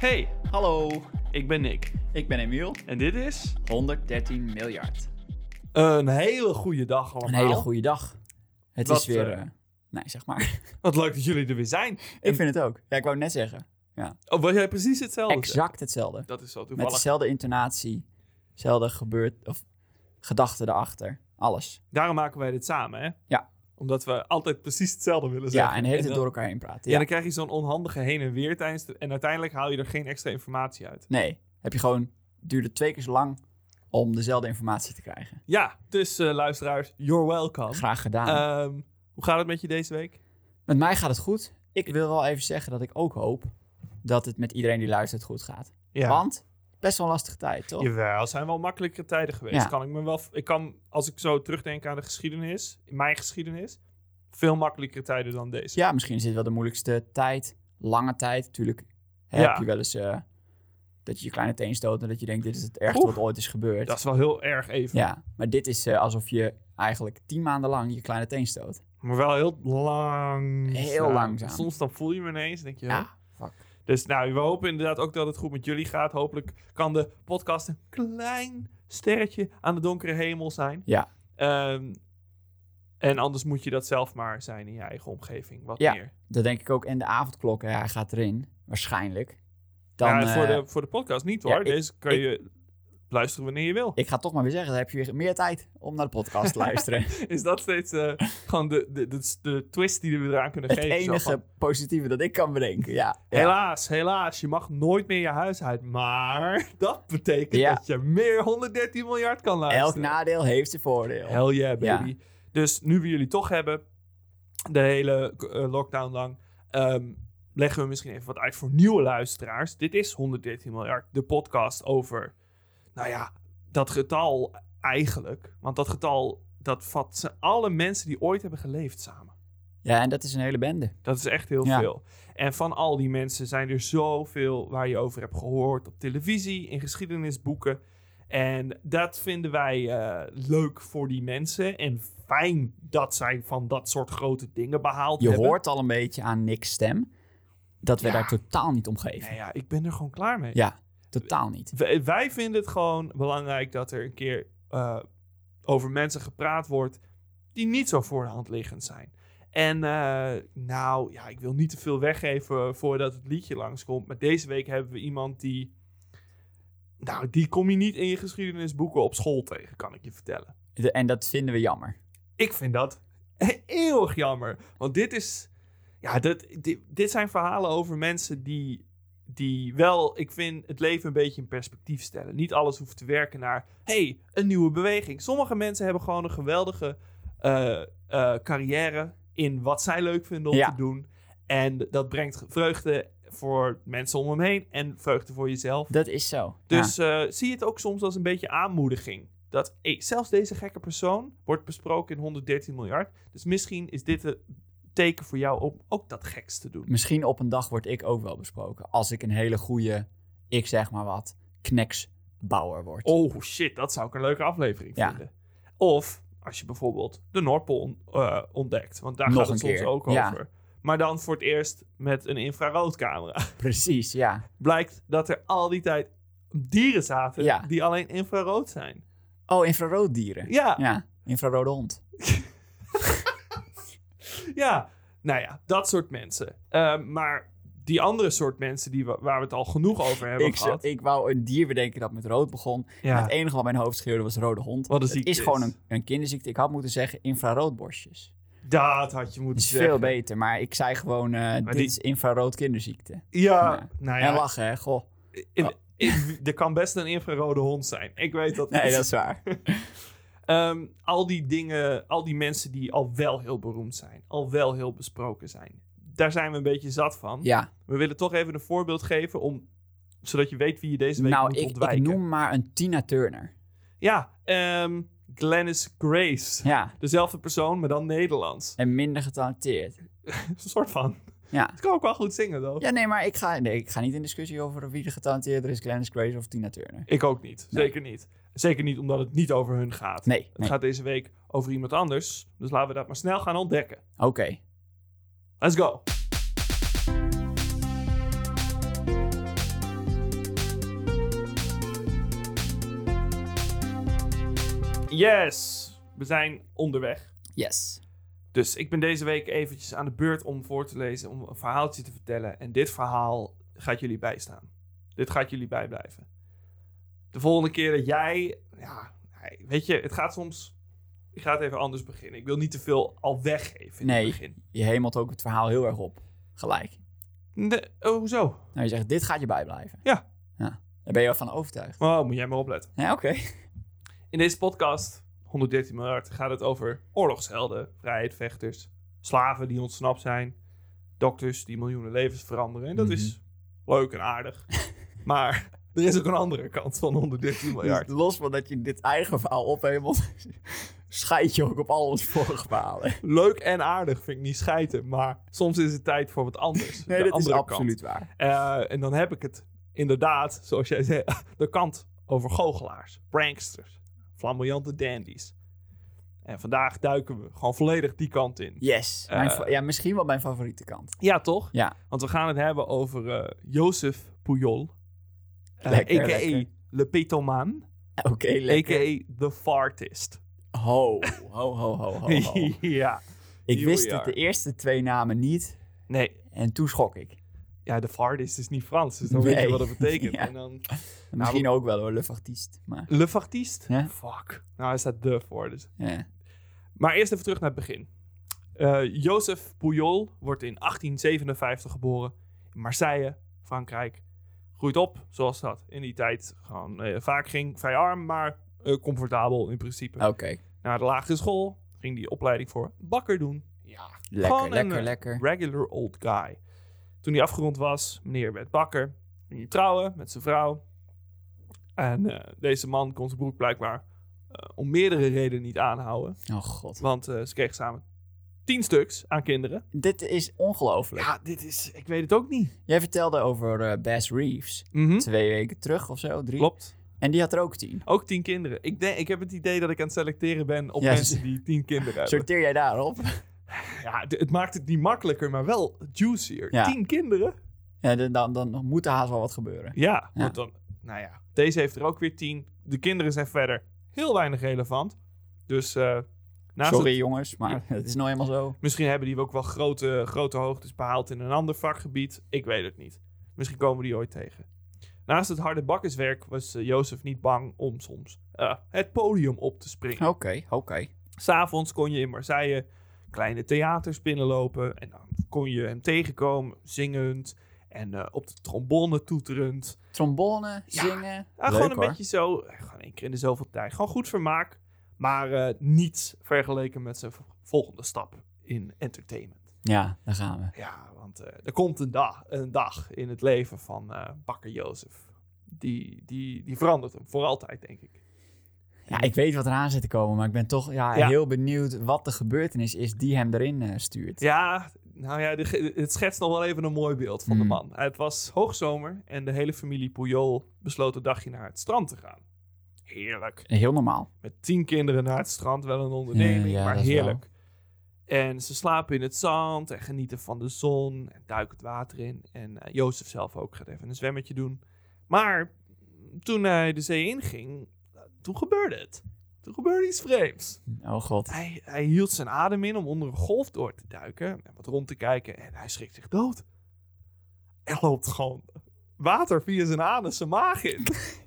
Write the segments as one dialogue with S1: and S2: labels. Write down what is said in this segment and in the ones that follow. S1: Hey,
S2: Hallo,
S1: ik ben Nick
S2: ik ben Emiel.
S1: en dit is
S2: 113 miljard.
S3: Een hele goede dag allemaal.
S2: Een hele goede dag. Het
S3: Wat,
S2: is weer.
S3: eh,
S2: eh, nee, zeg maar.
S3: Wat leuk dat jullie er weer zijn.
S2: ik vind het ook. Ja, ik wou net zeggen.
S3: Oh, was jij precies hetzelfde?
S2: Exact hetzelfde.
S3: Dat is zo
S2: Met
S3: toevallig.
S2: dezelfde intonatie, dezelfde gebeurt of gedachten erachter. Alles.
S3: Daarom maken wij dit samen, hè?
S2: Ja.
S3: Omdat we altijd precies hetzelfde willen zeggen.
S2: Ja, en de hele tijd
S3: dan-
S2: door elkaar heen praten.
S3: Ja,
S2: Ja.
S3: dan krijg je zo'n onhandige heen en weer tijdens... de- en uiteindelijk haal je er geen extra informatie uit.
S2: Nee, heb je gewoon. Duurde twee keer zo lang om dezelfde informatie te krijgen.
S3: Ja, dus eh, luisteraars, you're welcome.
S2: Graag gedaan.
S3: Ehm, hoe gaat het met je deze week?
S2: Met mij gaat het goed. Ik wil wel even zeggen dat ik ook hoop dat het met iedereen die luistert goed gaat.
S3: Ja.
S2: Want best wel een lastige tijd, toch?
S3: Jawel, het zijn wel makkelijkere tijden geweest.
S2: Ja.
S3: Kan ik me wel, ik kan, als ik zo terugdenk aan de geschiedenis, mijn geschiedenis, veel makkelijkere tijden dan deze.
S2: Ja, misschien is dit wel de moeilijkste tijd. Lange tijd, natuurlijk. Heb
S3: Ja.
S2: je wel eens eh, dat je je kleine teen stoot en dat je denkt, dit is het ergste
S3: Oeh.
S2: wat ooit is gebeurd.
S3: Dat is wel heel erg even.
S2: Ja, maar dit is eh, alsof je eigenlijk tien maanden lang je kleine teen stoot.
S3: Maar wel heel lang.
S2: Heel langzaam.
S3: Soms dan voel je me ineens, denk je.
S2: Ja,
S3: huh?
S2: fuck.
S3: Dus nou, we hopen inderdaad ook dat het goed met jullie gaat. Hopelijk kan de podcast een klein sterretje aan de donkere hemel zijn.
S2: Ja.
S3: Ehm, en anders moet je dat zelf maar zijn in je eigen omgeving. Wat
S2: Ja.
S3: meer.
S2: Dat denk ik ook. En de avondklok, ja, hij gaat erin, waarschijnlijk. Dan,
S3: ja, voor,
S2: eh,
S3: de, voor de podcast niet hoor.
S2: ja, ik-
S3: Deze kan je luisteren wanneer je wil.
S2: Ik ga toch maar weer zeggen, dan heb je weer meer tijd om naar de podcast te luisteren.
S3: Is dat steeds eh, gewoon de, de, de, de twist die we eraan kunnen
S2: het
S3: geven? Zo
S2: enige
S3: van,
S2: positieve dat ik kan bedenken, ja. ja.
S3: Helaas, helaas, je mag nooit meer je huis uit. Maar dat betekent
S2: Ja.
S3: dat je meer 113 miljard kan
S2: Elk
S3: luisteren.
S2: nadeel heeft zijn voordeel.
S3: Hell yeah, baby. Dus nu we jullie toch hebben, de hele eh, lockdown lang, ehm, leggen we misschien even wat uit voor nieuwe luisteraars. Dit is 113 miljard, de podcast over, nou ja, dat getal eigenlijk. Want dat getal, dat vat ze- alle mensen die ooit hebben geleefd samen.
S2: Ja, en dat is een hele bende.
S3: Dat is echt heel
S2: Ja.
S3: veel. En van al die mensen zijn er zoveel waar je over hebt gehoord op televisie, in geschiedenisboeken. En dat vinden wij eh, leuk voor die mensen. En fijn dat zij van dat soort grote dingen behaald
S2: Je
S3: hebben.
S2: hoort al een beetje aan Nick's stem dat we
S3: Ja.
S2: daar totaal niet om geven.
S3: Nou ja, ik ben er gewoon klaar mee.
S2: Ja, totaal niet.
S3: Wij, wij vinden het gewoon belangrijk dat er een keer eh, over mensen gepraat wordt die niet zo voor de hand liggend zijn. En eh, nou, ja, ik wil niet te veel weggeven voordat het liedje langskomt. Maar deze week hebben we iemand die. Nou, die kom je niet in je geschiedenisboeken op school tegen, kan ik je vertellen.
S2: De- en dat vinden we jammer.
S3: Ik vind dat eeuwig jammer. Want dit is. Ja, dit, dit, dit zijn verhalen over mensen die, die wel, ik vind, het leven een beetje in perspectief stellen. Niet alles hoeft te werken naar, hey, een nieuwe beweging. Sommige mensen hebben gewoon een geweldige eh, eh, carrière in wat zij leuk vinden om
S2: Ja.
S3: te doen. En dat brengt vreugde voor mensen om hem heen en vreugde voor jezelf.
S2: Dat is zo.
S3: Dus eh, zie het ook soms als een beetje aanmoediging. Dat hey, zelfs deze gekke persoon wordt besproken in 113 miljard. Dus misschien is dit een teken voor jou om ook dat geks te doen.
S2: Ja, misschien op een dag word ik ook wel besproken als ik een hele goede, ik zeg maar wat, kneksbouwer word.
S3: Oh shit, dat zou ik een leuke aflevering
S2: Ja.
S3: vinden. Of als je bijvoorbeeld de Noordpool on- eh, ontdekt. Want daar
S2: Nog
S3: gaat het
S2: een
S3: soms
S2: keer,
S3: ook
S2: ja.
S3: over. Maar dan voor het eerst met een infraroodcamera.
S2: Precies, ja.
S3: Blijkt dat er al die tijd dieren zaten
S2: Ja.
S3: die alleen infrarood zijn.
S2: Oh, infrarooddieren.
S3: Ja,
S2: Ja, infrarode hond.
S3: Ja, nou ja, dat soort mensen. Ehm, maar die andere soort mensen die we- waar we het al genoeg over hebben
S2: Ik, zou-
S3: gehad.
S2: ik wou een dier bedenken dat met rood begon.
S3: ja.
S2: En Het enige wat mijn hoofd schreeuwde was rode hond.
S3: Wat een
S2: het
S3: ziekte
S2: is
S3: is.
S2: gewoon een, een kinderziekte. Ik had moeten zeggen infraroodborstjes.
S3: Dat had je moeten
S2: Dat is
S3: zeggen.
S2: veel beter, maar ik zei gewoon, eh, dit
S3: die-
S2: is infrarood kinderziekte.
S3: Ja,
S2: Ja.
S3: nou
S2: En
S3: ja.
S2: lachen, hè? Goh.
S3: in- in- er kan best een infrarode hond zijn. Ik weet dat
S2: Nee,
S3: niet.
S2: dat is waar.
S3: Ehm, al die dingen, al die mensen die al wel heel beroemd zijn. Al wel heel besproken zijn. Daar zijn we een beetje zat van.
S2: Ja,
S3: We willen toch even een voorbeeld geven om zodat je weet wie je deze week
S2: nou,
S3: moet
S2: ik, ik
S3: ontwijken.
S2: noem maar een Tina Turner.
S3: Ja, ehm Glennis Grace.
S2: Ja,
S3: Dezelfde persoon, maar dan Nederlands.
S2: en minder getalenteerd.
S3: Een soort van.
S2: Ja.
S3: Het kan ook wel goed zingen, though.
S2: Ja, nee, maar ik ga, nee, ik ga niet in discussie over wie de getalenteerder is, Glennis Grace of Tina Turner.
S3: Ik ook niet.
S2: Nee.
S3: Zeker niet. Zeker niet omdat het niet over hun gaat.
S2: Nee,
S3: Het
S2: nee.
S3: gaat deze week over iemand anders. Dus laten we dat maar snel gaan ontdekken.
S2: oké.
S3: Let's go. Yes! We zijn onderweg.
S2: Yes.
S3: Dus ik ben deze week eventjes aan de beurt om voor te lezen, om een verhaaltje te vertellen. En dit verhaal gaat jullie bijstaan. Dit gaat jullie bijblijven. De volgende keer dat jij, ja, nee, weet je, het gaat soms. Ik ga het even anders beginnen. Ik wil niet te veel al weggeven in
S2: Nee.
S3: het begin.
S2: Je hemelt ook het verhaal heel erg op. Gelijk.
S3: Nee, oh, hoezo?
S2: Nou, je zegt, dit gaat je bijblijven.
S3: Ja.
S2: ja. Daar ben je wel van overtuigd.
S3: Oh, moet jij maar opletten.
S2: Ja, oké.
S3: In deze podcast, 113 miljard, gaat het over oorlogshelden, vrijheidvechters, slaven die ontsnapt zijn, dokters die miljoenen levens veranderen. En dat
S2: Mhm.
S3: is leuk en aardig. maar er is ook een andere kant van 113 miljard.
S2: Dus los van dat je dit eigen verhaal ophemelt, scheid je ook op al ons vorige verhalen.
S3: Leuk en aardig vind ik niet schijten, maar soms is het tijd voor wat anders.
S2: Nee,
S3: De
S2: dat is
S3: andere kant.
S2: absoluut waar.
S3: Eh, en dan heb ik het inderdaad, zoals jij zei, de kant over goochelaars, pranksters, flamboyante dandies. En vandaag duiken we gewoon volledig die kant in.
S2: Yes.
S3: Eh,
S2: Mijn fa- ja, misschien wel mijn favoriete kant.
S3: Ja, toch?
S2: Ja.
S3: Want we gaan het hebben over eh Jozef Pujol. eh,
S2: Lekker,
S3: a.k.a.
S2: lekker.
S3: Le Petoman.
S2: Oké, lekker.
S3: A.k.a. The Fartist.
S2: Ho, ho, ho, ho, ho, ho.
S3: ja.
S2: Ik
S3: Here
S2: wist
S3: we
S2: het
S3: are.
S2: de eerste twee namen niet
S3: Nee,
S2: en toen schrok ik.
S3: ja, The Fartist is niet Frans, dus dan weet
S2: Nee.
S3: je wat dat betekent.
S2: Ja.
S3: En dan...
S2: Misschien
S3: Nou,
S2: ook wel hoor, Le Fartiste. Maar
S3: Le Fartist?
S2: Ja.
S3: Fuck. Nou, hij staat de voor, dus...
S2: ja.
S3: Maar eerst even terug naar het begin. Eh Jozef Pujol wordt in 1857 geboren in Marseille, Frankrijk. Groeit op, zoals dat in die tijd gewoon eh, vaak ging. Vrij arm, maar eh, comfortabel in principe.
S2: oké.
S3: Naar de lagere school ging die opleiding voor bakker doen. Ja,
S2: Lekker,
S3: Gewoon een,
S2: lekker,
S3: eh,
S2: lekker.
S3: regular old guy. Toen hij afgerond was, meneer werd bakker. Ging hij trouwen met zijn vrouw. En eh, deze man kon zijn broek blijkbaar eh, om meerdere redenen niet aanhouden.
S2: Oh god.
S3: Want eh, ze kregen samen tien stuks aan kinderen.
S2: Dit is ongelooflijk.
S3: Ja, dit is... Ik weet het ook niet.
S2: Jij vertelde over eh Bass Reeves. Twee weken terug of zo, drie.
S3: Mhm, Klopt.
S2: En die had er ook tien.
S3: Ook tien kinderen. Ik, denk, ik heb het idee dat ik aan het selecteren ben op
S2: Ja,
S3: mensen die tien kinderen hebben.
S2: Sorteer jij daarop?
S3: Ja, d- het maakt het niet makkelijker, maar wel juicier.
S2: Ja.
S3: Tien kinderen?
S2: Ja, dan, dan, dan moet er haast wel wat gebeuren.
S3: Ja,
S2: Ja.
S3: Want dan, nou ja, deze heeft er ook weer tien. De kinderen zijn verder heel weinig relevant. Dus eh, naast
S2: Sorry
S3: het-
S2: jongens, maar het is nou helemaal zo.
S3: misschien hebben die ook wel grote, grote hoogtes behaald in een ander vakgebied. Ik weet het niet. Misschien komen we die ooit tegen. Naast het harde bakkerswerk was eh, Jozef niet bang om soms eh, het podium op te springen.
S2: Oké, oké.
S3: S'avonds kon je in Marseille kleine theaters binnenlopen. En dan kon je hem tegenkomen, zingend en eh, op de trombone toeterend.
S2: Trombone,
S3: Ja.
S2: zingen.
S3: Ja,
S2: Leuk,
S3: gewoon een
S2: hoor.
S3: beetje zo, eh, gewoon één keer in de zoveel tijd. Gewoon goed vermaak, maar eh, niets vergeleken met zijn v- volgende stap in entertainment.
S2: Ja, daar gaan we.
S3: Ja, want eh, er komt een dag, een dag in het leven van eh, bakker Jozef. Die, die, die verandert hem voor altijd, denk ik.
S2: Ja, ik weet wat eraan zit te komen, maar ik ben toch ja,
S3: Ja.
S2: heel benieuwd wat de gebeurtenis is die hem erin eh, stuurt.
S3: Ja, nou ja, de ge- het schetst nog wel even een mooi beeld van de
S2: Mm.
S3: man. Het was hoogzomer en de hele familie Pujol besloot een dagje naar het strand te gaan. Heerlijk.
S2: Heel normaal.
S3: Met tien kinderen naar het strand, wel een onderneming,
S2: Ja, ja,
S3: maar
S2: dat is
S3: heerlijk. En ze slapen in het zand en genieten van de zon en duiken het water in. En eh, Jozef zelf ook gaat even een zwemmetje doen. Maar toen hij de zee inging, eh, toen gebeurde het. Toen gebeurde iets vreemds.
S2: Oh god.
S3: Hij, hij hield zijn adem in om onder een golf door te duiken en wat rond te kijken. En hij schrikt zich dood. Er loopt gewoon water via zijn anus zijn maag in.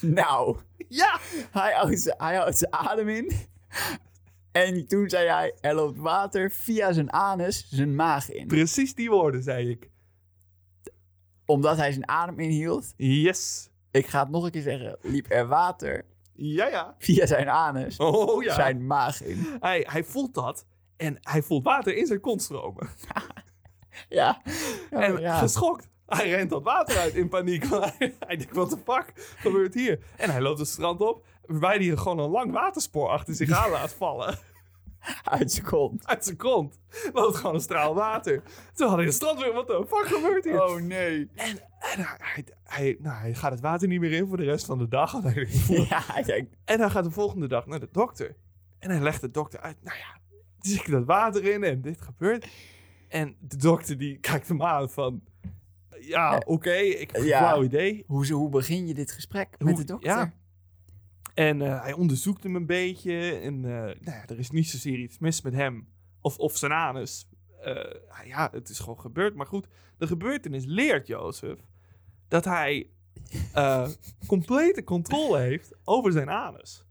S2: Nou,
S3: ja!
S2: hij houdt zijn- hij houdt zijn adem in. En toen zei hij, er loopt water via zijn anus zijn maag in.
S3: Precies die woorden, zei ik.
S2: Omdat hij zijn adem inhield,
S3: Yes.
S2: ik ga het nog een keer zeggen, liep er water
S3: Ja, ja.
S2: via zijn anus
S3: Oh ja.
S2: zijn maag in.
S3: Hij, hij voelt dat. En hij voelt water in zijn kont stromen.
S2: Ja. Ja,
S3: en
S2: ja.
S3: geschokt. Hij rent dat water uit in paniek. Want hij, hij denkt, wat de fuck gebeurt hier? En hij loopt het strand op. Waarbij hij gewoon een lang waterspoor achter zich aan laat vallen.
S2: uit zijn kont.
S3: Uit zijn kont. Loopt gewoon een straal water. Toen had hij het strand weer. Wat de fuck gebeurt hier?
S2: nee.
S3: En, en hij, hij, hij- nou, hij gaat het water niet meer in voor de rest van de dag. Want hij denkt, "Voel
S2: Ja, hij denkt,
S3: En hij gaat de volgende dag naar de dokter. En hij legt de dokter uit. Nou ja, dus ik dat water in en dit gebeurt. En de dokter die kijkt hem aan van... Ja, oké, ik heb een
S2: Ja.
S3: flauw idee.
S2: hoe, hoe begin je dit gesprek
S3: Hoe-
S2: met de dokter?
S3: ja. En eh, hij onderzoekt hem een beetje. En eh, nou ja, er is niet zozeer iets mis met hem. Of, of zijn anus. Eh, ah ja, het is gewoon gebeurd. Maar goed, de gebeurtenis leert Jozef dat hij eh, complete controle heeft over zijn anus.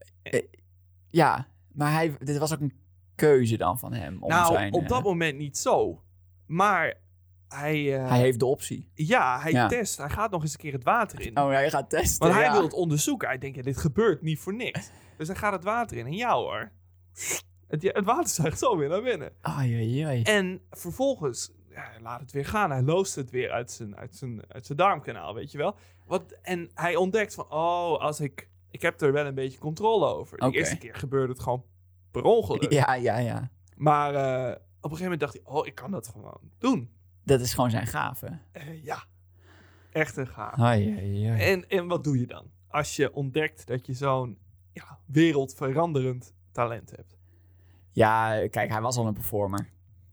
S2: Ja, maar hij, dit was ook een keuze dan van hem. Om
S3: nou,
S2: zijn,
S3: op
S2: eh,
S3: dat moment niet zo. Maar hij, eh,
S2: Hij heeft de optie.
S3: ja, hij
S2: Ja.
S3: test. Hij gaat nog eens een keer het water in.
S2: Oh, hij gaat testen.
S3: Want hij
S2: ja.
S3: wil het onderzoeken. Hij denkt, ja, dit gebeurt niet voor niks. Dus hij gaat het water in. En ja hoor. Het, het water zuigt zo weer naar binnen.
S2: Ai, ai, ai.
S3: En vervolgens, ja, hij laat het weer gaan. Hij loost het weer uit zijn, uit zijn, uit zijn darmkanaal, weet je wel. Wat, en hij ontdekt van, oh, als ik... Ik heb er wel een beetje controle over. De
S2: Oké.
S3: eerste keer gebeurde het gewoon per ongeluk.
S2: Ja, ja, ja.
S3: Maar eh, op een gegeven moment dacht hij, oh, ik kan dat gewoon doen.
S2: Dat is gewoon zijn gave.
S3: Eh, ja, echt een gaaf.
S2: Ai, ai, ai.
S3: En, en wat doe je dan? Als je ontdekt dat je zo'n ja, wereldveranderend talent hebt.
S2: Ja, kijk, hij was al een performer.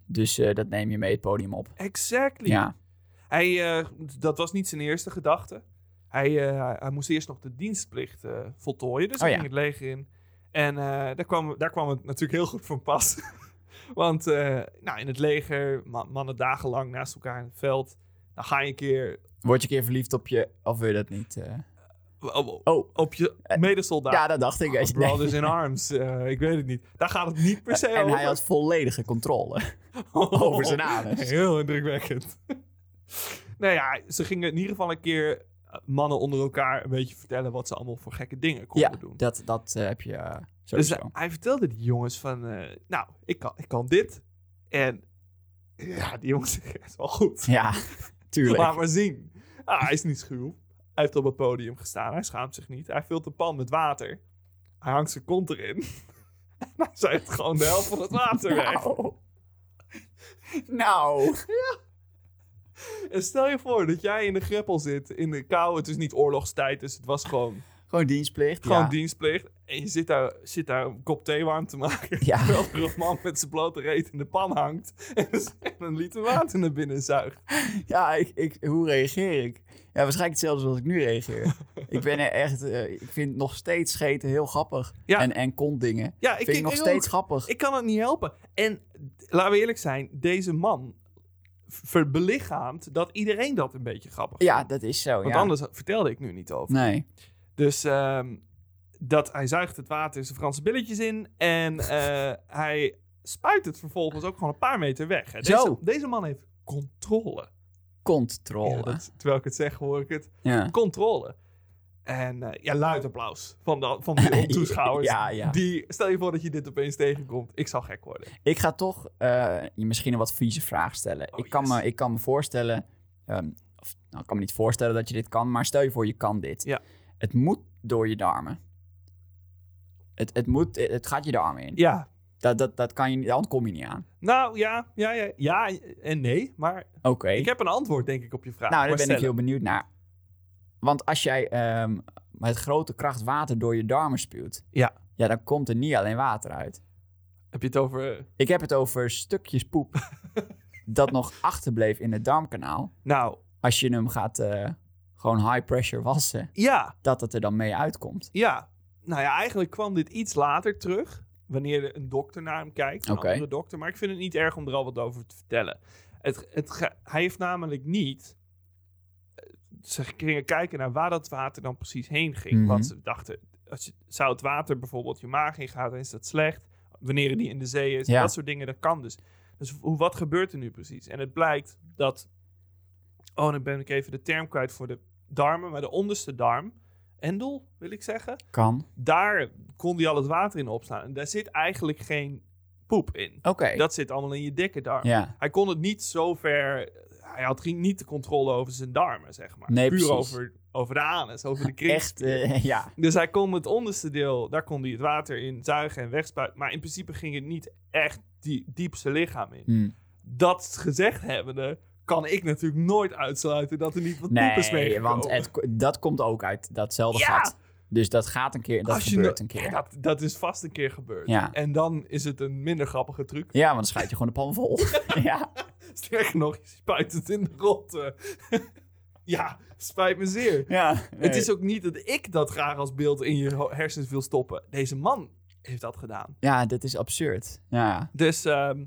S2: Dus eh, dat neem je mee het podium op.
S3: Exactly.
S2: Ja.
S3: Hij, eh, dat was niet zijn eerste gedachte. Hij, eh, hij- hij moest eerst nog de dienstplicht eh, voltooien. Dus
S2: Oh
S3: hij
S2: ja.
S3: ging het leger in. En eh, daar, kwam, daar kwam het natuurlijk heel goed van pas. Want eh, nou, in het leger, ma- mannen dagenlang naast elkaar in het veld. Dan ga je een keer
S2: Word je een keer verliefd op je... Of wil je dat niet? eh?
S3: op,
S2: Oh,
S3: op je medesoldaat.
S2: ja, dat
S3: ah,
S2: dacht ik. weet je. Nee.
S3: Brothers in arms, eh, ik weet het niet. Daar gaat het niet per se
S2: En
S3: over.
S2: hij had volledige controle over zijn anus.
S3: Heel indrukwekkend. nou ja, ze gingen in ieder geval een keer eh, mannen onder elkaar een beetje vertellen wat ze allemaal voor gekke dingen konden
S2: Ja,
S3: doen.
S2: dat, dat eh, heb je eh,
S3: Dus
S2: sowieso.
S3: hij, hij vertelde die jongens van, eh, nou, ik kan, ik kan dit. En ja, die jongens zeggen, het is wel goed.
S2: Ja, tuurlijk.
S3: Laat maar zien. Ah, hij is niet schuw. Hij heeft op het podium gestaan. Hij schaamt zich niet. Hij vult een pan met water. Hij hangt zijn kont erin. en hij zuigt gewoon de helft van het water weg.
S2: Nou. nou.
S3: En stel je voor dat jij in de greppel zit, in de kou. Het is niet oorlogstijd, dus het was gewoon,
S2: Gewoon dienstplicht.
S3: gewoon
S2: ja.
S3: dienstplicht. En je zit daar, zit daar een kop thee warm te maken.
S2: Ja.
S3: Terwijl er een man met zijn blote reet in de pan hangt. En een liter water naar binnen zuigt.
S2: Ja, ik, ik, hoe reageer ik? Ja, waarschijnlijk hetzelfde zoals ik nu reageer. ik ben er echt... eh, ik vind nog steeds scheten heel grappig.
S3: Ja.
S2: En, en kontdingen.
S3: Ja, ik,
S2: Vind ik
S3: ik-
S2: nog
S3: ik
S2: steeds
S3: ook.
S2: grappig.
S3: Ik kan het niet helpen. En d- laten we eerlijk zijn, deze man ver- belichaamt dat iedereen dat een beetje grappig
S2: Ja,
S3: vindt.
S2: dat is zo.
S3: Want
S2: ja.
S3: anders vertelde ik nu niet over.
S2: Nee.
S3: Dus ehm, dat hij zuigt het water zijn Franse billetjes in. En eh, hij spuit het vervolgens ook gewoon een paar meter weg. hè. Deze,
S2: Zo.
S3: deze man heeft controle.
S2: Controle.
S3: Ja, dat- terwijl ik het zeg, hoor ik het.
S2: Ja.
S3: Controle. En eh, ja, luid applaus van de, van de toeschouwers.
S2: Ja, ja.
S3: Die, stel je voor dat je dit opeens tegenkomt. Ik zal gek worden.
S2: Ik ga toch eh, je misschien een wat vieze vraag stellen.
S3: Oh,
S2: ik, kan
S3: yes.
S2: me, ik kan me voorstellen, ehm, of, nou, ik kan me niet voorstellen dat je dit kan, maar stel je voor je kan dit.
S3: Ja.
S2: Het moet door je darmen. Het, het, moet, het gaat je darmen in.
S3: Ja,
S2: Dat, dat, dat kan je, niet- dan kom je niet aan.
S3: Nou ja, ja, ja, ja en nee. Maar
S2: Oké.
S3: ik heb een antwoord, denk ik, op je vraag.
S2: Nou, daar
S3: Maar
S2: ben ik
S3: stellen.
S2: heel benieuwd naar. Want als jij ehm, met grote kracht water door je darmen spuwt,
S3: Ja.
S2: ja, dan komt er niet alleen water uit.
S3: Heb je het over. eh,
S2: Ik heb het over stukjes poep dat nog achterbleef in het darmkanaal.
S3: Nou,
S2: Als je hem gaat eh, gewoon high pressure wassen,
S3: ja,
S2: dat het er dan mee uitkomt.
S3: ja. Nou ja, eigenlijk kwam dit iets later terug. Wanneer er een dokter naar hem kijkt. Een
S2: Oké.
S3: andere dokter. Maar ik vind het niet erg om er al wat over te vertellen. Het, het, ge- hij heeft namelijk niet. eh, Ze gingen kijken naar waar dat water dan precies heen ging.
S2: Mhm.
S3: Want ze dachten, als je zout water bijvoorbeeld je maag in gaat, dan is dat slecht. wanneer die in de zee is.
S2: Ja.
S3: Dat soort dingen, dat kan dus. Dus hoe, wat gebeurt er nu precies? En het blijkt dat... Oh, dan ben ik even de term kwijt voor de darmen. Maar de onderste darm, endel wil ik zeggen...
S2: Kan.
S3: Daar kon die al het water in opslaan. En daar zit eigenlijk geen poep in.
S2: Oké.
S3: Dat zit allemaal in je dikke darm.
S2: Ja.
S3: Hij kon het niet zo ver... Hij had geen- niet de controle over zijn darmen, zeg maar.
S2: Nee,
S3: Puur
S2: precies.
S3: over, over de anus, over de kring.
S2: Echt, eh, ja.
S3: Dus hij kon het onderste deel, daar kon hij het water in zuigen en wegspuiten. Maar in principe ging het niet echt die, diep zijn lichaam in.
S2: Hm.
S3: Dat gezegd hebbende, kan ik natuurlijk nooit uitsluiten dat er niet wat poep is
S2: Nee,
S3: meegekomen.
S2: want het, ko- dat komt ook uit datzelfde
S3: Ja!
S2: gat. Dus dat gaat een keer, dat
S3: Als je
S2: gebeurt
S3: no-
S2: een keer.
S3: Ja,
S2: Ja,
S3: dat, dat is vast een keer gebeurd.
S2: Ja.
S3: En dan is het een minder grappige truc.
S2: want dan schijt je gewoon de pan vol. ja.
S3: Sterker nog, je spuit het in de rotte. eh. Ja, spijt me zeer.
S2: Ja, nee.
S3: Het is ook niet dat ik dat graag als beeld in je ho- hersens wil stoppen. Deze man heeft dat gedaan.
S2: ja, dit is absurd. Ja,
S3: Dus, ehm,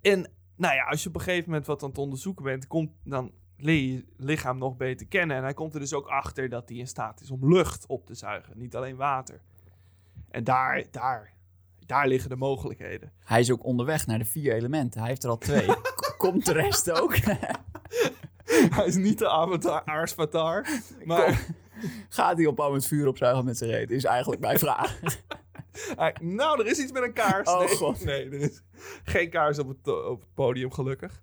S3: en nou ja, als je op een gegeven moment wat aan het onderzoeken bent, komt, dan leer je je lichaam nog beter kennen. En hij komt er dus ook achter dat hij in staat is om lucht op te zuigen, niet alleen water. En daar, daar, daar liggen de mogelijkheden.
S2: hij is ook onderweg naar de vier elementen. Hij heeft er al twee. K- Komt de rest ook?
S3: hij is niet de avatar, aarsvatar, maar
S2: Gaat hij opbouwen met vuur opzuigen met zijn reet? Is eigenlijk mijn vraag.
S3: hij- nou, er is iets met een kaars.
S2: Oh,
S3: nee,
S2: God.
S3: nee, er is geen kaars op het, eh, op het podium, gelukkig.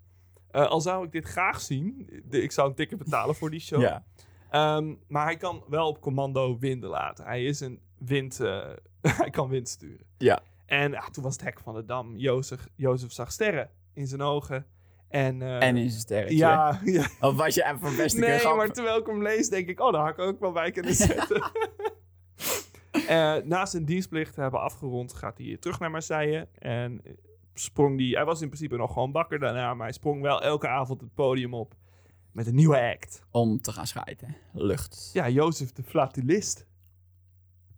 S3: Eh, al zou ik dit graag zien, de- ik zou een ticket betalen voor die show.
S2: Ja.
S3: Ehm, maar hij kan wel op commando winden laten. Hij is een wind. eh, hij kan wind sturen.
S2: Ja.
S3: En ah, toen was het hek van de dam. Jozef, Jozef zag sterren in zijn ogen. En, eh,
S2: En in zijn sterretje.
S3: ja, ja.
S2: Of was je even best een keer
S3: Nee,
S2: grap?
S3: maar terwijl ik hem lees, denk ik, oh, daar had ik ook wel bij kunnen zetten. Eh, na zijn dienstplicht hebben afgerond, gaat hij terug naar Marseille. En eh, sprong die, hij was in principe nog gewoon bakker daarna, maar hij sprong wel elke avond het podium op met een nieuwe act.
S2: Om te gaan schijten. Lucht.
S3: Ja, Jozef de Flatulist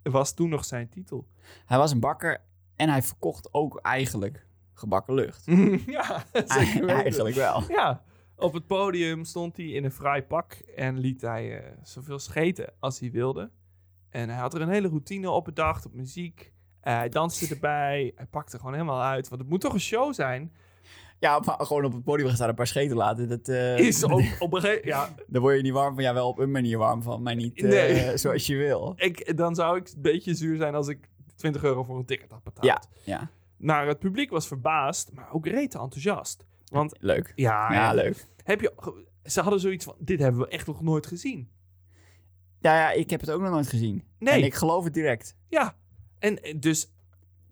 S3: was toen nog zijn titel.
S2: Hij was een bakker en hij verkocht ook eigenlijk gebakken lucht.
S3: ja,
S2: Ah,
S3: zeker weten.
S2: eigenlijk wel.
S3: Ja, op het podium stond hij in een fraai pak en liet hij eh, zoveel scheten als hij wilde. En hij had er een hele routine op bedacht, op muziek. Eh, hij danste erbij, hij pakte gewoon helemaal uit. Want het moet toch een show zijn?
S2: Ja, maar gewoon op het podium gaan staan en een paar scheten laten. Dat, eh,
S3: Is op, op een gegeven Ja,
S2: Daar word je niet warm van. Ja, wel op een manier warm van, maar niet eh,
S3: Nee.
S2: zoals je wil.
S3: ik, dan zou ik een beetje zuur zijn als ik 20 euro voor een ticket had betaald.
S2: Ja, ja.
S3: Maar het publiek was verbaasd, maar ook rete enthousiast. Want
S2: Leuk.
S3: Ah, ja,
S2: ja, leuk.
S3: Heb je, ge- ze hadden zoiets van, dit hebben we echt nog nooit gezien.
S2: Ja, ja, ik heb het ook nog nooit gezien.
S3: Nee,
S2: En ik geloof het direct.
S3: ja. En eh, dus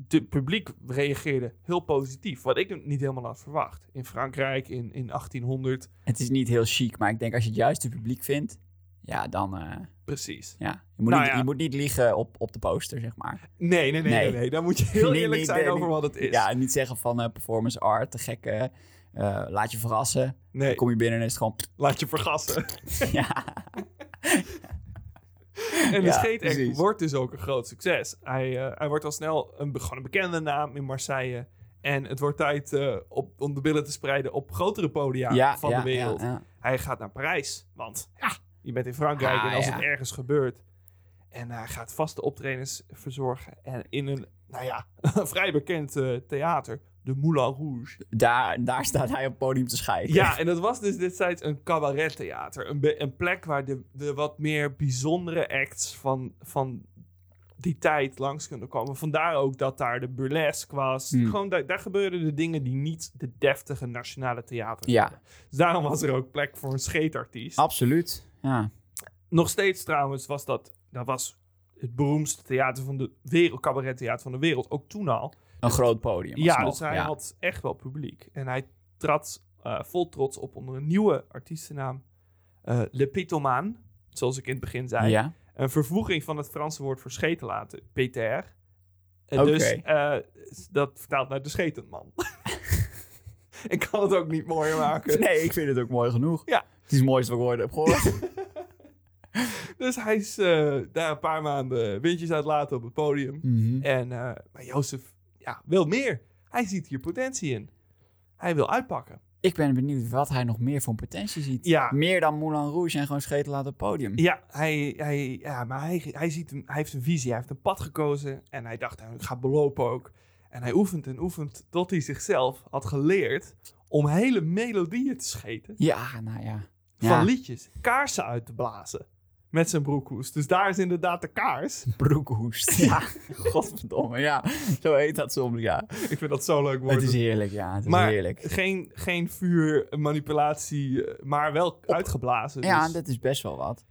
S3: het publiek reageerde heel positief. Wat ik niet helemaal had verwacht. In Frankrijk, in, in 1800.
S2: Het is niet heel chic, maar ik denk als je het juiste publiek vindt, ja, dan... eh,
S3: Precies.
S2: ja. Je, moet
S3: Nou
S2: niet,
S3: ja.
S2: je moet niet liegen op, op de poster, zeg maar.
S3: Nee, nee, nee, nee.
S2: Nee.
S3: nee. Dan moet je heel
S2: Nee,
S3: eerlijk
S2: nee,
S3: zijn
S2: nee,
S3: over
S2: nee.
S3: wat het is.
S2: Ja, en niet zeggen van eh, performance art, te gekke... eh, laat je verrassen.
S3: nee,
S2: Kom je binnen en is het gewoon...
S3: laat je vergassen.
S2: ja.
S3: en de
S2: Ja,
S3: scheetact
S2: precies.
S3: wordt dus ook een groot succes. Hij, eh, hij wordt al snel een, be- gewoon een bekende naam in Marseille. En het wordt tijd eh, op, om de billen te spreiden op grotere podia van de wereld.
S2: ja.
S3: Hij gaat naar Parijs, want ja, je bent in Frankrijk
S2: Ah,
S3: en als
S2: ja.
S3: het ergens gebeurt. En hij gaat vaste optredens verzorgen en in een, nou ja, vrij bekend eh, theater, de Moulin Rouge.
S2: Daar, daar staat hij op het podium te scheiden.
S3: Ja, en dat was dus destijds een cabarettheater. Een, be- een plek waar de, de wat meer bijzondere acts van, van die tijd langs kunnen komen. Vandaar ook dat daar de burlesque was.
S2: Hmm.
S3: Gewoon daar, daar gebeurden de dingen die niet de deftige nationale theater
S2: Ja,
S3: Dus daarom was er ook plek voor een scheetartiest.
S2: absoluut. Ja.
S3: Nog steeds trouwens was dat, dat was het beroemdste theater van de wereld, cabarettheater van de wereld, ook toen al.
S2: Een groot podium.
S3: Ja,
S2: alsnog,
S3: dus hij
S2: ja.
S3: had echt wel publiek. En hij trad eh, vol trots op onder een nieuwe artiestennaam, eh Le Pitomaan, zoals ik in het begin zei.
S2: Ja.
S3: Een vervoeging van het Franse woord voor scheten laten, PTR. En
S2: Oké.
S3: Dus eh, dat vertaalt naar de schetenman. ik kan het ook niet mooier maken.
S2: Nee, ik vind het ook mooi genoeg.
S3: Ja.
S2: Het is het mooiste wat ik ooit heb gehoord.
S3: Dus hij is eh, daar een paar maanden windjes uit laten op het podium.
S2: Mhm.
S3: En, eh, maar Jozef ja, wil meer. Hij ziet hier potentie in. Hij wil uitpakken.
S2: Ik ben benieuwd wat hij nog meer voor potentie ziet.
S3: Ja.
S2: Meer dan Moulin Rouge en gewoon scheten laten op het podium.
S3: Ja, hij, hij, ja maar hij, hij, ziet een, hij heeft een visie. Hij heeft een pad gekozen. En hij dacht, nou, ik ga belopen ook. En hij oefent en oefent tot hij zichzelf had geleerd om hele melodieën te scheten.
S2: Ja, nou ja.
S3: Van
S2: Ja.
S3: liedjes. Kaarsen uit te blazen. Met zijn broekhoes. Dus daar is inderdaad de kaars.
S2: Broekhoest. Ja, godverdomme. Ja, zo heet dat soms. Ja.
S3: Ik vind dat zo leuk worden.
S2: Het is heerlijk, ja. Het is
S3: Maar-
S2: heerlijk.
S3: Geen, geen vuur, manipulatie, eh, maar wel uitgeblazen.
S2: Ja,
S3: dus.
S2: dat is best wel wat.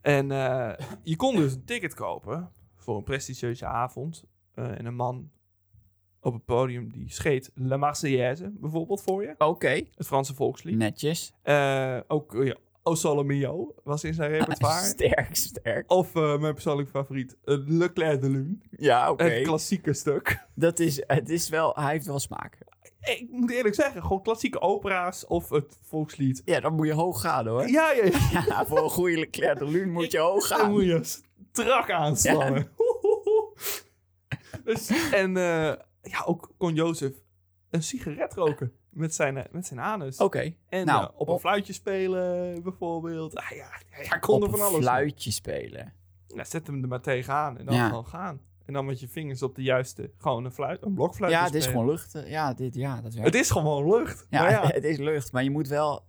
S3: En eh, je kon dus een ticket kopen voor een prestigieuze avond. eh, en een man op het podium die scheet La Marseillaise bijvoorbeeld voor je.
S2: Oké.
S3: Het Franse volkslied.
S2: Netjes.
S3: Eh, ook eh, ja, O Sole Mio was in zijn repertoire.
S2: Sterk, sterk.
S3: Of eh, mijn persoonlijke favoriet, eh, Le Clair de Lune.
S2: Ja, oké.
S3: Het klassieke stuk.
S2: Dat is, het is wel, hij heeft wel smaak.
S3: ik moet eerlijk zeggen, gewoon klassieke opera's of het volkslied.
S2: Ja, dan moet je hoog gaan hoor.
S3: Ja, ja, ja.
S2: Ja, voor een goede Leclerc de Lune moet je hoog
S3: Dan
S2: gaan.
S3: moet je strak aanslaan. dus, en eh, ja, ook kon Jozef een sigaret roken met zijn, eh, met zijn anus.
S2: Oké.
S3: en
S2: nou,
S3: eh, op een fluitje spelen bijvoorbeeld. Ah, ja, hij- hij kon
S2: Op
S3: er
S2: een
S3: van alles. mee.
S2: fluitje spelen.
S3: Ja, zet hem er maar tegenaan en dan
S2: Ja.
S3: gewoon gaan. En dan met je vingers op de juiste, gewoon een fluit, een blokfluit.
S2: Ja, het is gewoon lucht. eh, Ja, dit, ja dat werkt.
S3: Het is gewoon lucht.
S2: Ja,
S3: maar ja,
S2: het is lucht, maar je moet wel...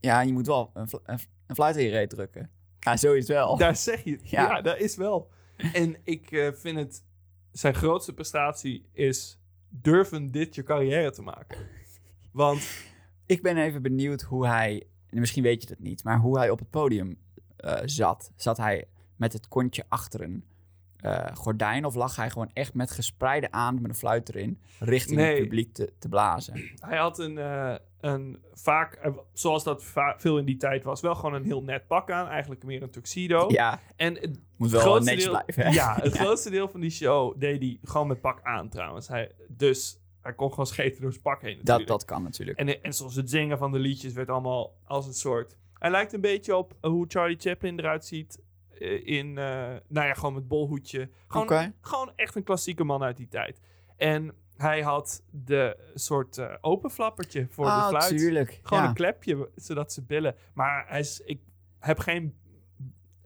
S2: Ja, je moet wel een, fl- een, een fluit in je reet drukken. Ja, zoiets wel.
S3: daar zeg je. Ja.
S2: Oh, Ja.
S3: dat is wel. En ik eh, vind het, zijn grootste prestatie is durven dit je carrière te maken. Want
S2: Ik ben even benieuwd hoe hij, en misschien weet je dat niet, maar hoe hij op het podium eh, zat. Zat hij met het kontje achter een eh, gordijn of lag hij gewoon echt met gespreide aan met een fluit erin richting
S3: Nee.
S2: het publiek te, te blazen?
S3: hij had een, eh, een vaak, eh, zoals dat va- veel in die tijd was, wel gewoon een heel net pak aan. Eigenlijk meer een tuxedo.
S2: Ja,
S3: En Oh. het
S2: moet wel
S3: grootste
S2: netjes
S3: deel-
S2: blijven. hè?
S3: Ja, het grootste deel van die show deed hij gewoon met pak aan trouwens. Hij, dus hij kon gewoon scheten door zijn pak heen
S2: dat,
S3: natuurlijk.
S2: dat kan natuurlijk.
S3: En, en soms het zingen van de liedjes werd allemaal als een soort... Hij lijkt een beetje op hoe Charlie Chaplin eruit ziet eh, in... eh, nou ja, gewoon met bolhoedje.
S2: Oké.
S3: Gewoon, gewoon echt een klassieke man uit die tijd. En hij had de soort eh open flappertje voor de
S2: Ah,
S3: fluit.
S2: tuurlijk.
S3: Gewoon
S2: ja.
S3: een klepje, zodat ze billen. Maar hij is, ik heb geen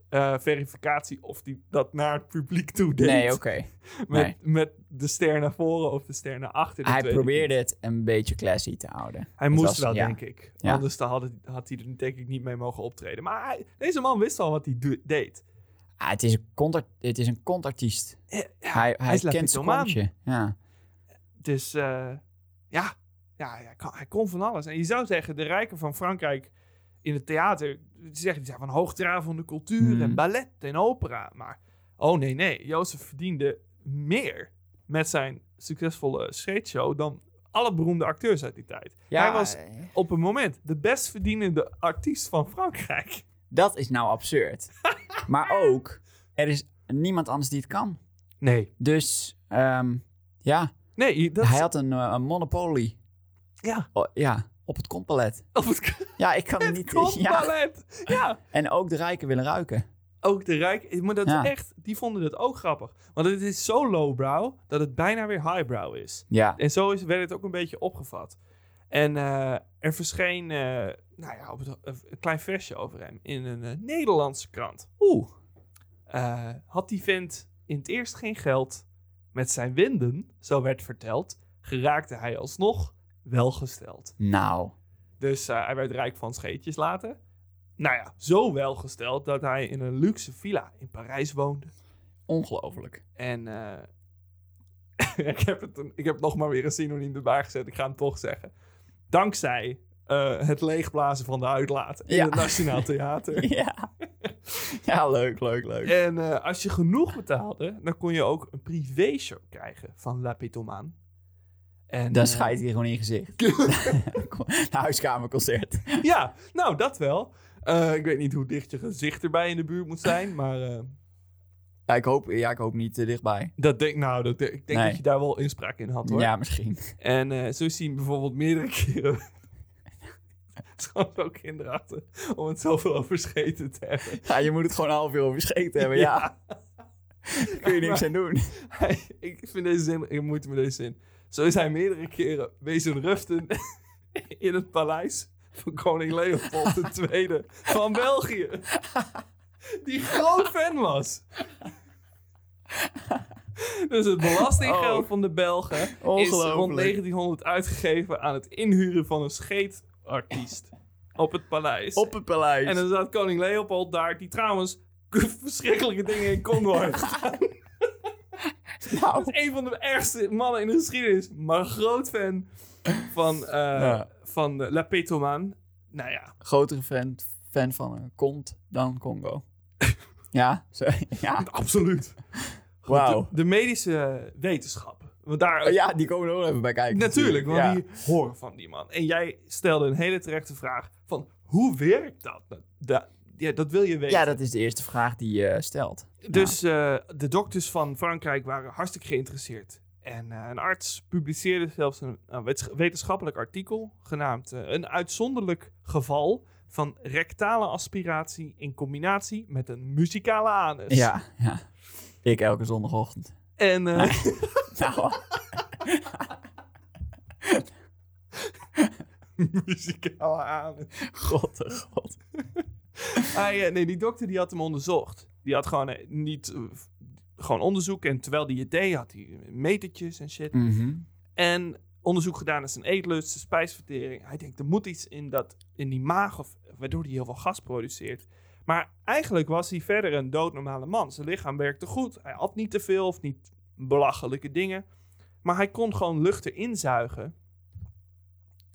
S3: eh, verificatie of die dat naar het publiek toe deed.
S2: Nee, oké.
S3: met,
S2: nee.
S3: met de ster naar voren of de ster naar achter. dat
S2: Hij
S3: weet ik
S2: probeerde het een beetje classy te houden.
S3: niet. Hij
S2: Het
S3: moest
S2: was-
S3: wel,
S2: ja.
S3: denk ik.
S2: Ja.
S3: Anders dan had, het- had hij er denk ik niet mee mogen optreden. Maar hij- deze man wist al wat hij do- deed.
S2: Ah, het, is een contact, het is een contartiest.
S3: Eh, ja,
S2: hij hij,
S3: is
S2: kent zijn
S3: Latinomaan.
S2: kontje. Ja.
S3: Dus eh, ja, ja, ja, hij kon- hij kon van alles. En je zou zeggen, de rijken van Frankrijk in het theater, die zeggen die zijn van hoogdravende cultuur en
S2: Hmm.
S3: ballet en opera. Maar oh nee, nee, Jozef verdiende meer met zijn succesvolle scheetshow dan alle beroemde acteurs uit die tijd.
S2: Ja,
S3: Hij was
S2: eh,
S3: op het moment de best verdienende artiest van Frankrijk.
S2: Dat is nou absurd. maar ook, er is niemand anders die het kan.
S3: Nee.
S2: Dus ehm, ja,
S3: Nee, dat
S2: hij had een, eh, een monopolie
S3: Ja,
S2: oh, ja, op het kontpalet.
S3: op het,
S2: Ja, ik kan het
S3: het
S2: niet. Ja.
S3: ballet. ja.
S2: En ook de rijken willen ruiken.
S3: Ook de rijk. Maar dat
S2: Ja.
S3: is echt, die vonden het ook grappig. Want het is zo lowbrow dat het bijna weer highbrow is.
S2: Ja,
S3: En zo is, werd het ook een beetje opgevat. En eh, er verscheen eh, nou ja, op het, een klein versje over hem in een eh, Nederlandse krant. Oeh. Eh, had die vent in het eerst geen geld. Met zijn winden, zo werd verteld, geraakte hij alsnog welgesteld.
S2: nou.
S3: Dus eh, hij werd rijk van scheetjes later. Nou ja, zo welgesteld dat hij in een luxe villa in Parijs woonde.
S2: Ongelooflijk.
S3: En eh, ik, heb het een- ik heb nog maar weer een synoniem erbij gezet. Ik ga hem toch zeggen. Dankzij eh, het leegblazen van de uitlaat in
S2: Ja.
S3: het Nationaal Theater.
S2: Ja. ja, leuk, leuk, leuk.
S3: en eh, als je genoeg betaalde, dan kon je ook een privéshow krijgen van La Pitomaan. En,
S2: Dan
S3: eh,
S2: schijt hij gewoon in je gezicht. Nou, Een huiskamerconcert.
S3: Ja, nou, dat wel. Eh, ik weet niet hoe dicht je gezicht erbij in de buurt moet zijn, maar... eh,
S2: Ja, ik hoop, ja, ik hoop niet eh, dichtbij.
S3: Dat denk, nou, dat, denk- ik denk
S2: Nee.
S3: dat je daar wel inspraak in had hoor.
S2: Ja, misschien.
S3: En eh, zo is hij bijvoorbeeld meerdere keren. Het is gewoon zo kinderachtig om het zoveel over scheten te hebben.
S2: Ja, je moet het gewoon een half uur over scheet hebben. Ja, kun je niks aan doen.
S3: Hij- ik vind deze zin, ik moeite met deze zin. Zo is hij meerdere keren wezen ruften in het paleis van koning Leopold II van België. Die groot fan was. Dus het belastinggeld
S2: Oh.
S3: van de Belgen is rond
S2: Ongelooflijk.
S3: 1900 uitgegeven aan het inhuren van een scheetartiest op het paleis.
S2: Op het paleis.
S3: En dan zat koning Leopold daar, die trouwens verschrikkelijke dingen in Congo heeft gedaan.
S2: nou.
S3: Een van de ergste mannen in de geschiedenis. Maar groot fan van, eh,
S2: Ja.
S3: van eh, La Petoman. Nou ja,
S2: grotere fan, fan van een kont dan Congo. ja, zo, ja.
S3: absoluut.
S2: Ah. Wauw. Oh
S3: De, de medische wetenschap. Want daar,
S2: Ja, die komen er ook even bij kijken.
S3: natuurlijk, want
S2: ja.
S3: die horen van die man. En jij stelde een hele terechte vraag van hoe werkt dat? Dat, ja, dat wil je weten.
S2: Ja, dat is de eerste vraag die je stelt.
S3: eh, Dus eh, de dokters van Frankrijk waren hartstikke geïnteresseerd En eh, een arts publiceerde zelfs een, een wets- wetenschappelijk artikel genaamd eh, Een uitzonderlijk geval van rectale aspiratie in combinatie met een muzikale anus.
S2: Ja, ja. Ik elke zondagochtend.
S3: En eh,
S2: Nou,
S3: muzikale anus.
S2: god, oh god.
S3: Hij, eh, nee, die dokter die had hem onderzocht. Die had gewoon eh, niet... eh, f- gewoon onderzoek en terwijl die het deed had hij metertjes en shit.
S2: Mhm.
S3: En onderzoek gedaan naar zijn eetlust, zijn spijsvertering. Hij denkt, er moet iets in, dat, in die maag, of, waardoor hij heel veel gas produceert. Maar eigenlijk was hij verder een doodnormale man. Zijn lichaam werkte goed. Hij at niet te veel of niet belachelijke dingen. Maar hij kon gewoon lucht erin zuigen.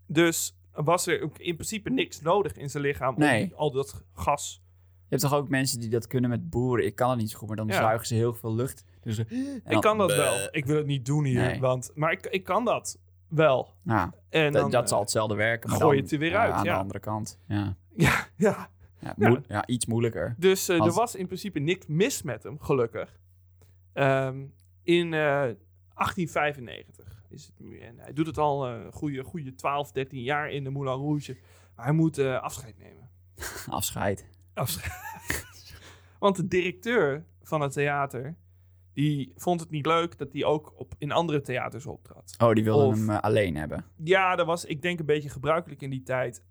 S3: Dus was er ook in principe niks nodig in zijn lichaam om
S2: Nee.
S3: al dat gas...
S2: Je hebt toch ook mensen die dat kunnen met boeren? Ik kan het niet zo goed, maar dan
S3: Ja.
S2: zuigen ze heel veel lucht. Dus ze- en
S3: ik
S2: dan-
S3: kan dat
S2: Bleh.
S3: wel. Ik wil het niet doen hier,
S2: Nee.
S3: want, maar ik, ik kan dat wel.
S2: Ja,
S3: En
S2: nou, dat-
S3: dan,
S2: dat
S3: eh,
S2: zal hetzelfde werken. Maar
S3: gooi
S2: dan,
S3: het er weer
S2: eh,
S3: uit,
S2: Aan
S3: ja.
S2: de andere kant. Ja,
S3: Ja, ja,
S2: ja,
S3: Ja.
S2: moe- ja iets moeilijker.
S3: Dus eh,
S2: Als-
S3: er was in principe niks mis met hem, gelukkig. Ehm, in eh, 1895 is het nu. En hij doet het al eh, een goede, goede 12, 13 jaar in de Moulin Rouge. Maar hij moet eh, afscheid nemen.
S2: Afscheid.
S3: Afscheid. Want de directeur van het theater, die vond het niet leuk dat hij ook op, in andere theaters optrad.
S2: Oh, die wilden
S3: Of-
S2: hem eh, alleen hebben.
S3: Ja, dat was, ik denk, een beetje gebruikelijk in die tijd.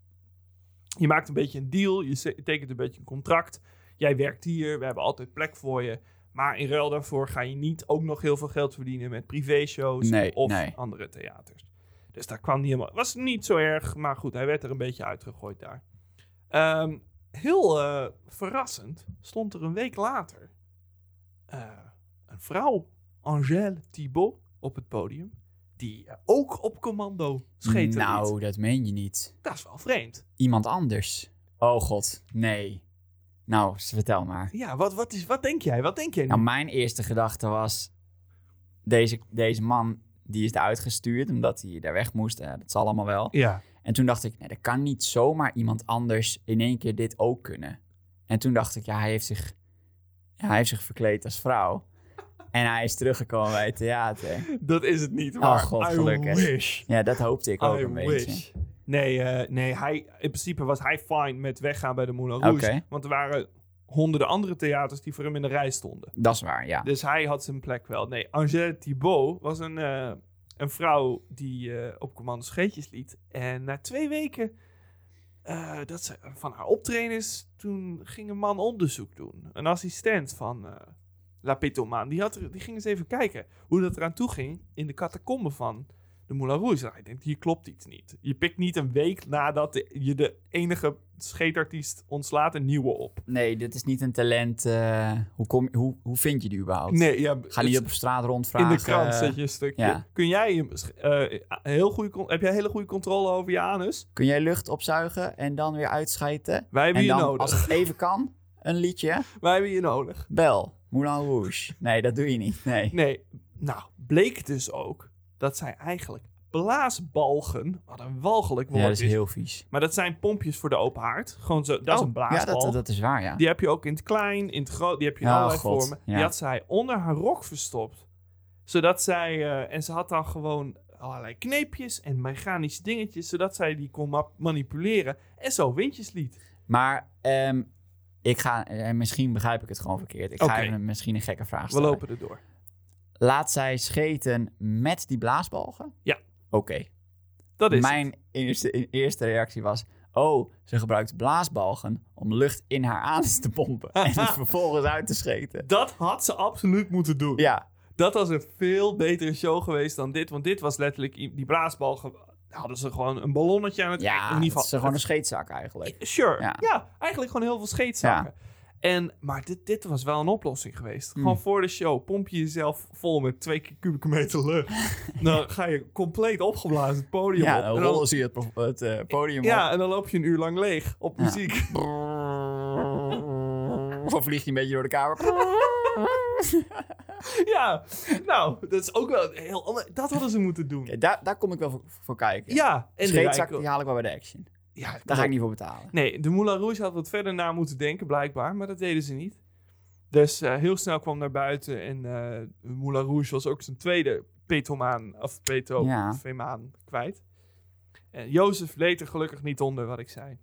S3: Je maakt een beetje een deal, je ze- tekent een beetje een contract. Jij werkt hier, we hebben altijd plek voor je. Maar in ruil daarvoor ga je niet ook nog heel veel geld verdienen met privé-shows
S2: Nee,
S3: of
S2: nee.
S3: andere theaters. Dus daar kwam niet helemaal. Was niet zo erg, maar goed, hij werd er een beetje uitgegooid daar. Ehm, heel eh, verrassend stond er een week later eh, een vrouw, Angèle Thibault, op het podium. Die eh, ook op commando scheten
S2: nou,
S3: liet.
S2: dat meen je niet.
S3: Dat is wel vreemd.
S2: Iemand anders. Oh god, nee. Nou, s- vertel maar.
S3: Ja, wat, wat, is, wat denk jij? Wat denk jij nu?
S2: Nou, mijn eerste gedachte was... Deze, deze man, die is eruit gestuurd omdat hij daar weg moest. Eh, dat zal allemaal wel.
S3: ja.
S2: En toen dacht ik, nee, dat kan niet zomaar iemand anders in één keer dit ook kunnen. En toen dacht ik, ja, hij heeft zich, ja, hij heeft zich verkleed als vrouw. En hij is teruggekomen bij het theater.
S3: Dat is het niet,
S2: maar Oh, God, I gelukkig.
S3: wish.
S2: Ja, dat hoopte ik ook een beetje.
S3: Nee, eh, nee hij, in principe was hij fine met weggaan bij de Moulin Rouge.
S2: Oké.
S3: Want er waren honderden andere theaters die voor hem in de rij stonden.
S2: Dat is waar, ja.
S3: Dus hij had zijn plek wel. Nee, Angèle Thibault was een, eh, een vrouw die eh, op commando scheetjes liet. En na twee weken eh, dat ze van haar optreden is, toen ging een man onderzoek doen. Een assistent van eh La Pitomaan. Die, had er, die ging eens even kijken hoe dat eraan toe ging in de catacomben van de Moulin Rouge. Nou, ik denk, hier klopt iets niet. Je pikt niet een week nadat de- je de enige scheetartiest ontslaat een nieuwe op.
S2: Nee, dit is niet een talent. eh, hoe, kom, hoe, hoe vind je die überhaupt?
S3: Nee, ja,
S2: Ga
S3: het-
S2: niet op straat rondvragen.
S3: In de krant zet je een stukje.
S2: eh, ja.
S3: Kun jij hem sch- eh, heel goede, con- heb jij hele goede controle over je anus?
S2: Kun jij lucht opzuigen en dan weer uitschijten?
S3: Wij hebben
S2: En
S3: je
S2: dan,
S3: nodig.
S2: als het even kan, een liedje.
S3: Wij hebben je nodig.
S2: Bel, Moulin Rouge. Nee, dat doe je niet. Nee.
S3: Nee, nou, bleek dus ook dat zij eigenlijk blaasbalgen, wat een walgelijk woord
S2: Ja, dat is
S3: is,
S2: heel vies.
S3: maar dat zijn pompjes voor de open haard. Gewoon zo, dat is
S2: Oh,
S3: een blaasbal.
S2: Ja, dat, dat is waar, ja.
S3: Die heb je ook in het klein, in het groot, die heb je in
S2: Ja,
S3: allerlei
S2: Ah, God,
S3: vormen. Die
S2: ja.
S3: had zij onder haar rok verstopt. Zodat zij, eh, en ze had dan gewoon allerlei kneepjes en mechanische dingetjes, zodat zij die kon ma- manipuleren en zo windjes liet.
S2: Maar ehm, ik ga, en misschien begrijp ik het gewoon verkeerd. Ik
S3: Oké.
S2: ga even misschien een gekke vraag
S3: We
S2: stellen.
S3: lopen erdoor.
S2: Laat zij scheten met die blaasbalgen?
S3: Ja.
S2: Oké.
S3: Dat is het.
S2: Mijn eerste, eerste reactie was... Oh, ze gebruikt blaasbalgen om lucht in haar anus te pompen. en het vervolgens uit te scheten.
S3: Dat had ze absoluut moeten doen.
S2: Ja,
S3: Dat was een veel betere show geweest dan dit. Want dit was letterlijk i- die blaasbal. ge- Hadden ze gewoon een ballonnetje aan het
S2: ja
S3: in ieder geval.
S2: het is gewoon een scheetzak eigenlijk.
S3: Sure. Ja.
S2: Ja.
S3: eigenlijk gewoon heel veel scheetzakken. En, maar dit, dit was wel een oplossing geweest.
S2: Hmm.
S3: Gewoon voor de show pomp je jezelf vol met twee keer kubieke meter lucht. Dan ga je compleet opgeblazen het podium op.
S2: Ja,
S3: En
S2: dan
S3: dan-
S2: rollen ze je het, po- het eh, podium
S3: ja, en dan loop je een uur lang leeg op
S2: Ja.
S3: muziek.
S2: op. Of vlieg je een beetje door de kamer.
S3: Ja, nou, dat is ook wel een heel ander. Dat hadden ze moeten doen.
S2: Oké, daar, daar kom ik wel voor, voor kijken.
S3: Ja, en
S2: en
S3: de
S2: Scheetzak
S3: rijke-
S2: die haal ik wel bij de action.
S3: Ja,
S2: Daar ga ik niet voor betalen.
S3: Nee, de Moulin Rouge had wat verder na moeten denken, blijkbaar. Maar dat deden ze niet. Dus eh, heel snel kwam naar buiten. En eh Moulin Rouge was ook zijn tweede Petomaan of Peto
S2: Ja.
S3: Vemaan kwijt. En Jozef leed er gelukkig niet onder, wat ik zei.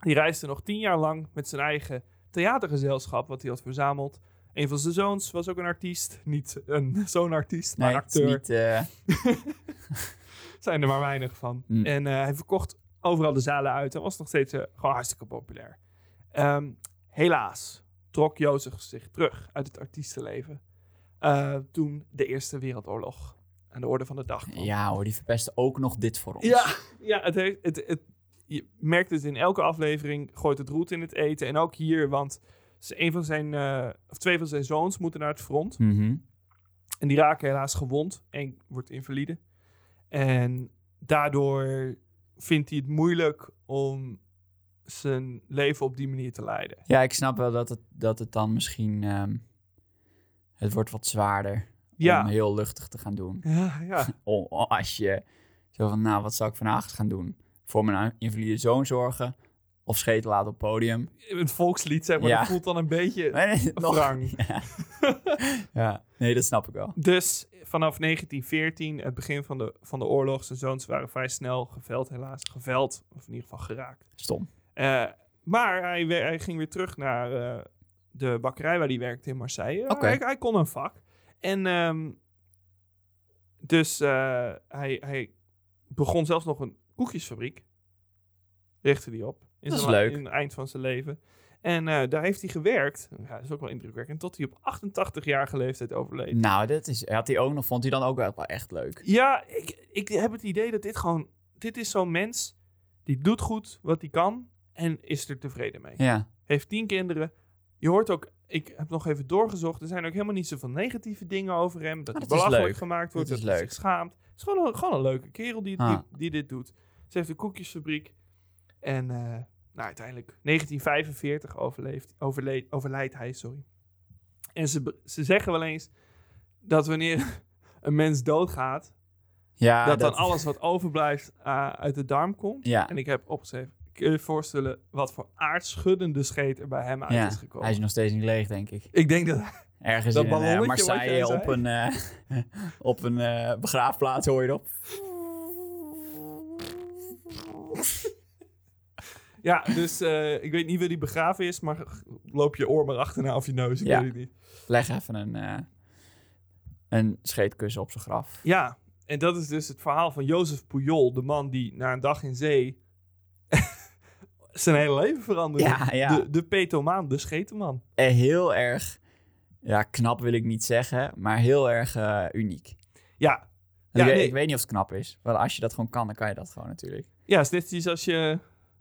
S3: Die reisde nog tien jaar lang met zijn eigen theatergezelschap, wat hij had verzameld. Een van zijn zoons was ook een artiest. Niet een zo'n artiest, maar
S2: Nee,
S3: een
S2: het is
S3: acteur.
S2: niet... eh,
S3: zijn er maar weinig van.
S2: Hmm.
S3: En eh, hij verkocht overal de zalen uit en was nog steeds eh, gewoon hartstikke populair. Ehm, helaas trok Jozef zich terug uit het artiestenleven eh, toen de Eerste Wereldoorlog aan de orde van de dag kwam.
S2: ja hoor, die verpesten ook nog dit voor ons.
S3: Ja, ja het heeft, het, het, je merkt het in elke aflevering. Gooit het roet in het eten. En ook hier, want ze- een van zijn, eh, of twee van zijn zoons moeten naar het front.
S2: Mhm.
S3: En die raken helaas gewond. Eén wordt invalide. En daardoor vindt hij het moeilijk om zijn leven op die manier te leiden.
S2: Ja, ik snap wel dat het, dat het dan misschien... ehm, het wordt wat zwaarder om
S3: Ja,
S2: heel luchtig te gaan doen.
S3: ja, ja.
S2: Oh, oh, als je zo van, nou, wat zal ik vandaag gaan doen? Voor mijn invalide zoon zorgen? Of scheten laten op het podium?
S3: Het volkslied, zeg maar,
S2: Ja.
S3: dat voelt dan een beetje...
S2: Nee,
S3: wrang.
S2: Ja. ja, nee, dat snap ik wel.
S3: Dus vanaf 1914, het begin van de, van de oorlog, zijn zoons waren vrij snel geveld, helaas. Geveld, of in ieder geval geraakt.
S2: Stom.
S3: Eh, maar hij, we- hij ging weer terug naar eh, de bakkerij waar hij werkte in Marseille.
S2: Oké.
S3: Hij, hij kon een vak. En ehm, dus eh, hij, hij begon zelfs nog een koekjesfabriek. Richtte die op. In
S2: Dat is
S3: zijn la-
S2: leuk.
S3: In het eind van zijn leven. En eh, daar heeft hij gewerkt. Ja, dat is ook wel indrukwekkend. Tot hij op 88-jarige leeftijd overleed.
S2: Nou, dat is, had hij ook nog, vond hij dan ook wel wel echt leuk.
S3: Ja, ik, ik heb het idee dat dit gewoon... Dit is zo'n mens die doet goed wat hij kan en is er tevreden mee.
S2: Ja,
S3: Heeft tien kinderen. Je hoort ook... Ik heb nog even doorgezocht. Er zijn ook helemaal niet zoveel negatieve dingen over hem. Dat,
S2: Ah,
S3: hij
S2: dat is
S3: belachelijk
S2: leuk.
S3: gemaakt wordt.
S2: Dat
S3: Dat,
S2: is
S3: hij
S2: leuk.
S3: zich schaamt. Het is gewoon een, gewoon een leuke kerel die, die-
S2: Ah.
S3: die, dit doet. Ze heeft een koekjesfabriek. En eh, nou, uiteindelijk 1945 overleeft, overleed, overlijdt hij. Sorry. En ze, be- ze zeggen wel eens dat wanneer een mens doodgaat
S2: ja
S3: dat, dan alles wat overblijft eh, uit de darm komt.
S2: Ja,
S3: En ik heb opgeschreven, kun je je voorstellen wat voor aardschuddende scheet er bij hem uit
S2: Ja,
S3: is gekomen?
S2: hij is nog steeds niet leeg, denk ik.
S3: Ik denk dat...
S2: Ergens
S3: Dat
S2: in een, eh,
S3: ballonnetje wat jij
S2: Marseille
S3: zei.
S2: op een, eh, op een eh, begraafplaats hoor je op.
S3: Ja, dus eh, ik weet niet waar die begraven is, maar g- loop je oor maar achterna of je neus, ik
S2: Ja.
S3: weet het niet.
S2: Leg even een, eh, een scheetkussen op zijn graf.
S3: Ja, en dat is dus het verhaal van Jozef Pujol, de man die na een dag in zee zijn hele leven veranderde.
S2: Ja, ja.
S3: De, de petomaan, de scheteman.
S2: Eh, heel erg, ja, knap wil ik niet zeggen, maar heel erg eh, uniek.
S3: Ja,
S2: En
S3: Ja,
S2: ik, weet-
S3: nee.
S2: ik weet niet of het knap is. Want als je dat gewoon kan, dan kan je dat gewoon natuurlijk.
S3: Ja, het is net iets als je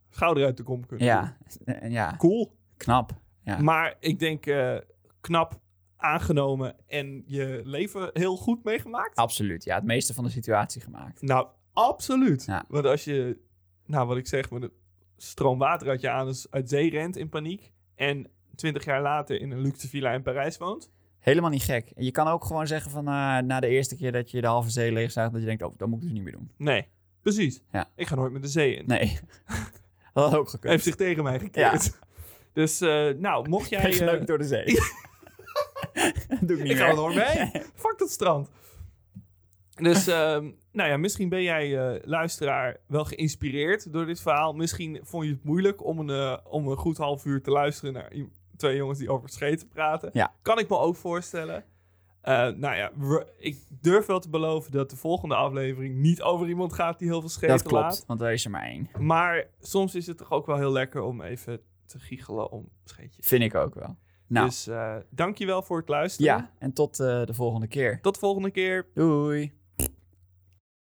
S3: schouder uit de kom kunt. doen.
S2: Ja, en ja
S3: Cool.
S2: knap. Ja.
S3: Maar ik denk eh, knap aangenomen en je leven heel goed meegemaakt.
S2: Absoluut. Ja, het meeste van de situatie gemaakt.
S3: Nou, absoluut.
S2: Ja.
S3: Want als je, nou wat ik zeg, met een stroom water uit je aan uit zee rent in paniek. En twintig jaar later in een luxe villa in Parijs woont.
S2: Helemaal niet gek. En Je kan ook gewoon zeggen van eh, na de eerste keer dat je de halve zee leegzaagt, dat je denkt, oh, dat moet ik dus niet meer doen.
S3: Nee, precies.
S2: Ja.
S3: Ik ga nooit met de zee in.
S2: Nee. dat had ook
S3: Hij
S2: gekund.
S3: heeft zich tegen mij gekeerd. Dus eh, nou, mocht jij...
S2: Kreeg
S3: eh,
S2: leuk door de zee. dat doe ik niet
S3: Ik ga
S2: meer.
S3: er door mee. Fuck dat strand. Dus, ehm, nou ja, misschien ben jij, eh, luisteraar, wel geïnspireerd door dit verhaal. Misschien vond je het moeilijk om een, eh, om een goed half uur te luisteren naar i- twee jongens die over scheten praten.
S2: Ja.
S3: Kan ik me ook voorstellen. Eh, nou ja, we- ik durf wel te beloven dat de volgende aflevering niet over iemand gaat die heel veel scheten
S2: Dat klopt,
S3: laat.
S2: want er is er maar één.
S3: Maar soms is het toch ook wel heel lekker om even te giechelen om scheetjes.
S2: Vind ik ook wel. Nou,
S3: Dus eh dankjewel voor het luisteren.
S2: ja. En tot eh, de volgende keer.
S3: Tot de volgende keer.
S2: Doei.